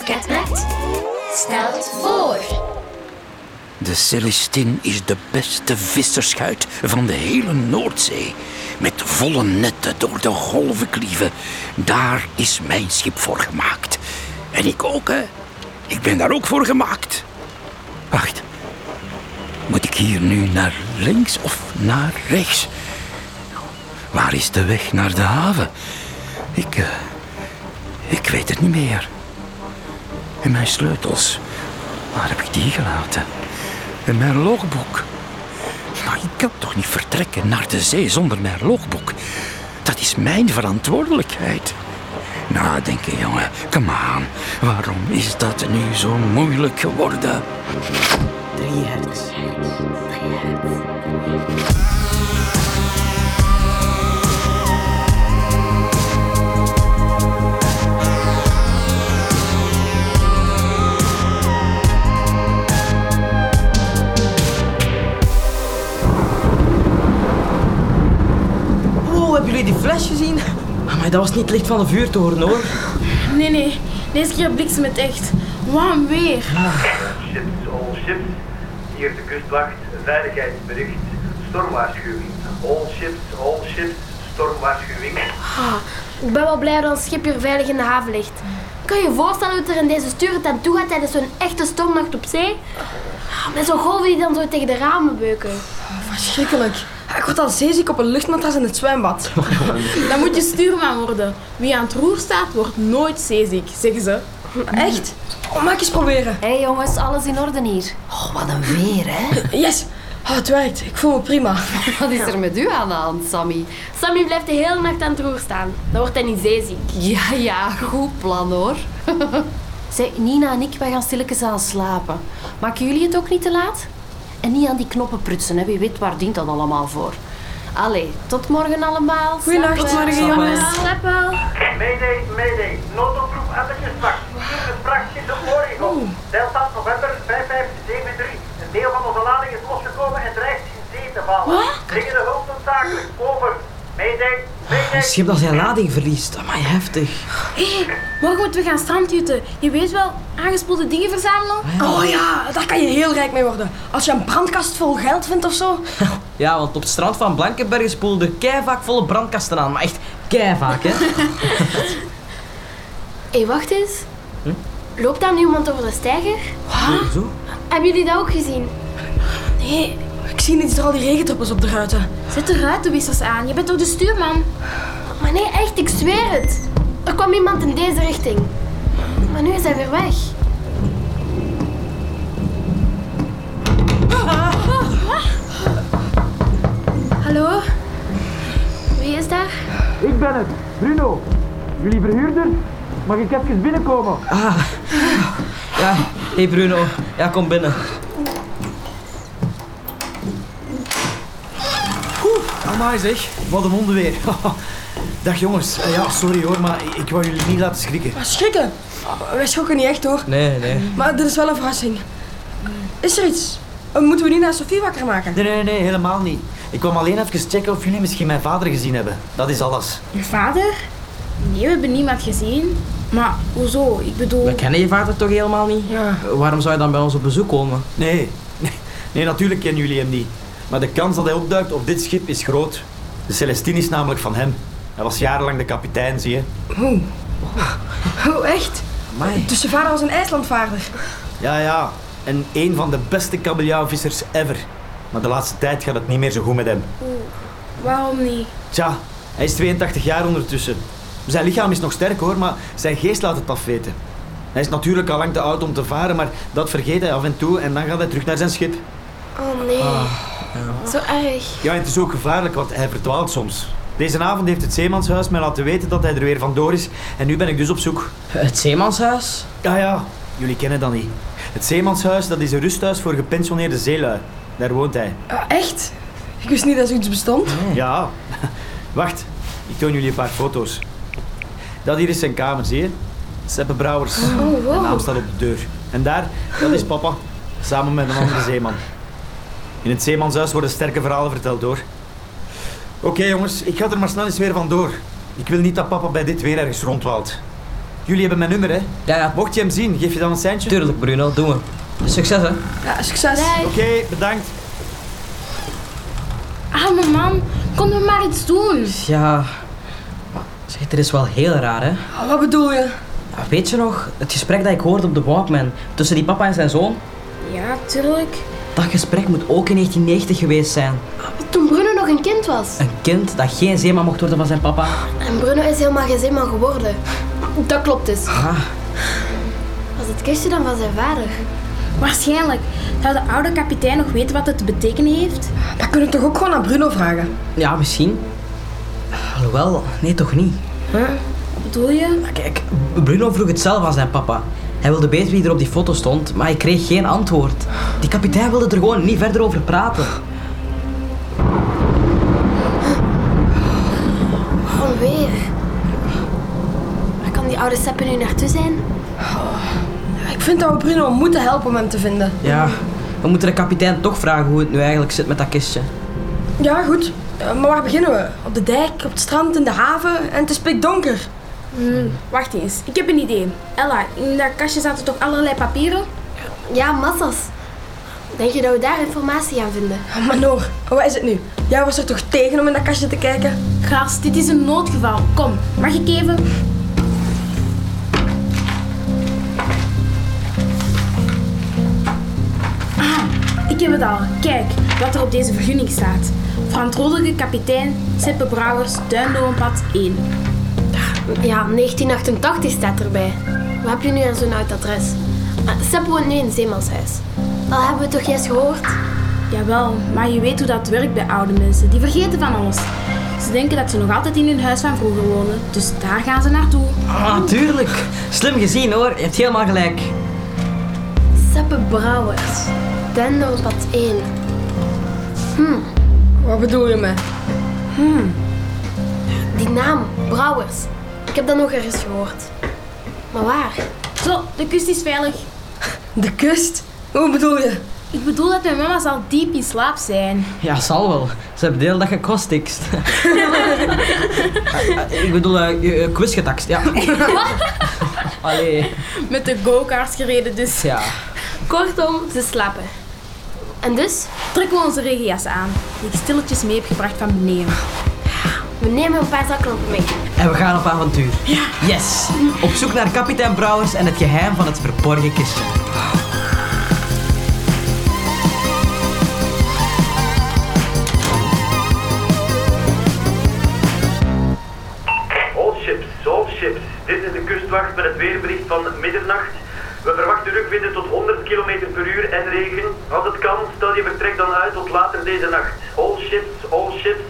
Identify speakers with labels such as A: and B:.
A: Nederland stelt voor.
B: De Celestin is de beste visserschuit van de hele Noordzee. Met volle netten door de golven klieven. Daar is mijn schip voor gemaakt. En ik ook, hè. Ik ben daar ook voor gemaakt. Wacht. Moet ik hier nu naar links of naar rechts? Waar is de weg naar de haven? Ik... eh, ik weet het niet meer. En mijn sleutels. Waar heb ik die gelaten? En mijn logboek. Maar ik kan toch niet vertrekken naar de zee zonder mijn logboek? Dat is mijn verantwoordelijkheid. Nadenken, jongen. Kom aan. Waarom is dat nu zo moeilijk geworden?
C: Drie hertz. Oh, hebben jullie die fles gezien? Ah, Maar dat was niet het licht van de vuurtoren hoor.
D: Nee, nee. Deze keer bliksem het echt. Warm weer.
E: Ships, all ships. Hier de kustwacht, veiligheidsbericht, stormwaarschuwing. All ships, all ships, stormwaarschuwing.
A: Ah, Ik ben wel blij dat ons schip hier veilig in de haven ligt. Kan je je voorstellen hoe het er in deze sturen aan toe gaat tijdens zo'n echte stormnacht op zee? Ah, Met zo'n golven die dan zo tegen de ramen beuken.
F: Verschrikkelijk. Ik word al zeeziek op een luchtmatras in het zwembad.
D: Dan moet je stuurman worden. Wie aan het roer staat, wordt nooit zeeziek, zeggen ze.
F: Echt? Oh, maak eens proberen.
A: Hé jongens, alles in orde hier.
C: Oh, wat een weer, hè?
F: Yes. Oh, het werkt. Ik voel me prima.
G: Wat is er met u aan de hand, Sammy?
A: Sammy blijft de hele nacht aan het roer staan. Dan wordt hij niet zeeziek.
G: Ja, ja, goed plan hoor. Zeg, Nina en ik, wij gaan stilletjes aan slapen. Maken jullie het ook niet te laat? En niet aan die knoppen prutsen, hè. Wie weet waar dient dat allemaal voor. Allee, tot morgen allemaal.
F: Goeienacht.
G: Slaap
F: Tot morgen,
G: wel.
F: jongens.
A: Slaap wel.
E: Mayday, mayday. Noodoproep aan de kustwacht. Hier een vrachtje de Oregon. Delta November 5573. Een deel van onze lading is losgekomen en dreigt in zee te vallen. Dringende hulp noodzakelijk. Over. Mayday, mayday.
C: Een schip dat zijn lading verliest. Amai, heftig.
D: Hé, morgen moeten we gaan strandjutten. Je weet wel, aangespoelde dingen verzamelen.
F: Oh ja, daar kan je heel rijk mee worden. Als je een brandkast vol geld vindt of zo.
C: Ja, want op het strand van Blankenbergen spoelden er keivaak volle brandkasten aan. Maar echt keivaak, hè?
A: Hé, wacht eens. Loopt daar nu iemand over de steiger?
C: Zo?
A: Hebben jullie dat ook gezien?
D: Nee,
F: Ik zie niet er al die regendruppels op de ruiten.
D: zet de ruitenwissers aan. Je bent toch de stuurman?
A: Maar nee, echt, ik zweer het. Er kwam iemand in deze richting. Maar nu is hij weer weg. Hallo? Wie is daar?
E: Ik ben het, Bruno. Jullie verhuurder? Mag ik even binnenkomen?
C: Ja. Hé hey Bruno, ja, kom binnen.
H: Amai zeg, wat een onderweer. Dag jongens, Eh, ja, sorry hoor, maar ik- ik wou jullie niet laten schrikken.
F: Maar schrikken. Oh, Wij schrokken niet echt hoor.
C: Nee, nee.
F: Maar dit is wel een verrassing. Is er iets? Eh, Moeten we Nina en Sophie wakker maken?
H: Nee, nee, nee, helemaal niet. Ik kwam alleen even checken of jullie misschien mijn vader gezien hebben. Dat is alles.
D: Je vader? Nee, we hebben niemand gezien. Maar hoezo? Ik bedoel...
C: We kennen je vader toch helemaal niet?
F: Ja.
C: Eh, Waarom zou je dan bij ons op bezoek komen?
H: Nee, nee, nee, natuurlijk kennen jullie hem niet. Maar de kans dat hij opduikt op dit schip is groot. De Celestine is namelijk van hem. Hij was jarenlang de kapitein, zie je.
F: Oh, echt?
C: Amai.
F: Dus je vader was een IJslandvaarder.
H: Ja, ja. En een van de beste kabeljauwvissers ever. Maar de laatste tijd gaat het niet meer zo goed met hem.
D: Waarom niet?
H: Tja, hij is 82 jaar ondertussen. Zijn lichaam is nog sterk hoor, maar zijn geest laat het afweten. Hij is natuurlijk al lang te oud om te varen, maar dat vergeet hij af en toe en dan gaat hij terug naar zijn schip. Ah,
A: Oh nee. Zo erg.
H: Ja, en het is ook gevaarlijk, want hij verdwaalt soms. Deze avond heeft het zeemanshuis mij laten weten dat hij er weer vandoor is en nu ben ik dus op zoek.
C: Het zeemanshuis?
H: Ja, ja, jullie kennen dat niet. Het zeemanshuis, dat is een rusthuis voor gepensioneerde zeelui. Daar woont hij.
F: Ah, echt? Ik wist niet dat zoiets bestond.
H: Ja, wacht. Ik toon jullie een paar foto's. Dat hier is zijn kamer, zie je? Seppe Brouwers.
A: Oh
H: De naam
A: wow.
H: staat op de deur. En daar, dat is papa. Samen met een andere zeeman. In het zeemanshuis worden sterke verhalen verteld, hoor. Oké, jongens. Ik ga er maar snel eens weer vandoor. Ik wil niet dat papa bij dit weer ergens rondwaalt. Jullie hebben mijn nummer, hè?
C: Ja, ja.
H: Mocht je hem zien, geef je dan een seintje?
C: Tuurlijk, Bruno. Doen we. Succes, hè.
F: Ja, succes.
H: Oké, bedankt.
D: Arme man, konden we maar iets doen?
C: Ja... Zeg, dit is wel heel raar, hè.
F: Ah, Wat bedoel je?
C: Ja, Weet je nog, het gesprek dat ik hoorde op de Walkman tussen die papa en zijn zoon?
A: Ja, tuurlijk.
C: Dat gesprek moet ook in 1990 geweest zijn.
A: Toen Bruno nog een kind was.
C: Een kind dat geen zeeman mocht worden van zijn papa.
A: En Bruno is helemaal geen zeeman geworden. Dat klopt dus.
C: Ah,
A: Was het kistje dan van zijn vader?
D: Waarschijnlijk. Zou de oude kapitein nog weten wat het te betekenen heeft?
F: Dan kunnen we toch ook gewoon aan Bruno vragen?
C: ja, misschien. Alhoewel, nee toch niet.
D: Wat bedoel je?
C: Ja, Kijk, Bruno vroeg het zelf aan zijn papa. Hij wilde weten wie er op die foto stond, maar hij kreeg geen antwoord. Die kapitein wilde er gewoon niet verder over praten.
A: Alweer. Waar kan die oude Seppe nu naartoe zijn?
F: Ik vind dat we Bruno moeten helpen om hem te vinden.
C: Ja, we moeten de kapitein toch vragen hoe het nu eigenlijk zit met dat kistje.
F: Ja, goed. Eh, maar waar beginnen we? Op de dijk, op het strand, in de haven en het is pikdonker.
D: Wacht eens, ik heb een idee. Ella, in dat kastje zaten toch allerlei papieren?
A: Ja, massas. Denk je dat we daar informatie gaan vinden?
F: Oh, maar Noor, wat is het nu? Jij was er toch tegen om in dat kastje te kijken?
D: Gast, dit is een noodgeval. Kom, mag ik even? Ah, ik heb het al. Kijk wat er op deze vergunning staat. Verantwoordelijke kapitein Seppe Brouwers, Duindoornpad 1.
A: Ja, 1988 staat erbij. Wat heb je nu aan zo'n oud adres? Ah, Seppe woont nu in het zeemanshuis. Al hebben we toch juist gehoord?
D: Jawel, maar je weet hoe dat werkt bij oude mensen. Die vergeten van alles. Ze denken dat ze nog altijd in hun huis van vroeger wonen, dus daar gaan ze naartoe.
C: Ah, tuurlijk. Slim gezien hoor, je hebt helemaal gelijk.
A: Seppe Brouwers. Dendoorpad 1.
F: Wat bedoel je mee?
A: Die naam, Brouwers. Ik heb dat nog ergens gehoord. Maar waar?
D: Zo, de kust is veilig.
F: De kust? Hoe bedoel je?
D: Ik bedoel dat mijn mama zal diep in slaap zijn.
C: Ja, zal wel. Ze hebben de hele dag gekrostikst. Eh, eh, ik bedoel, eh, eh, eh, quiz getakst, ja. Allee,
D: Met de go-karts gereden dus.
C: ja.
A: Kortom, ze slapen. En dus,
D: Trekken we onze regenjas aan, die ik stilletjes mee heb gebracht van beneden.
A: we nemen een paar zaklampen mee.
C: En we gaan op avontuur. Yes! Op zoek naar kapitein Brouwers en het geheim van het verborgen kistje.
E: All ships, all ships. Dit is de kustwacht met het weerbericht van middernacht. We verwachten rukwinden tot 100 km per uur en regen. Als het kan, stel je vertrek dan uit tot later deze nacht. All ships, all ships.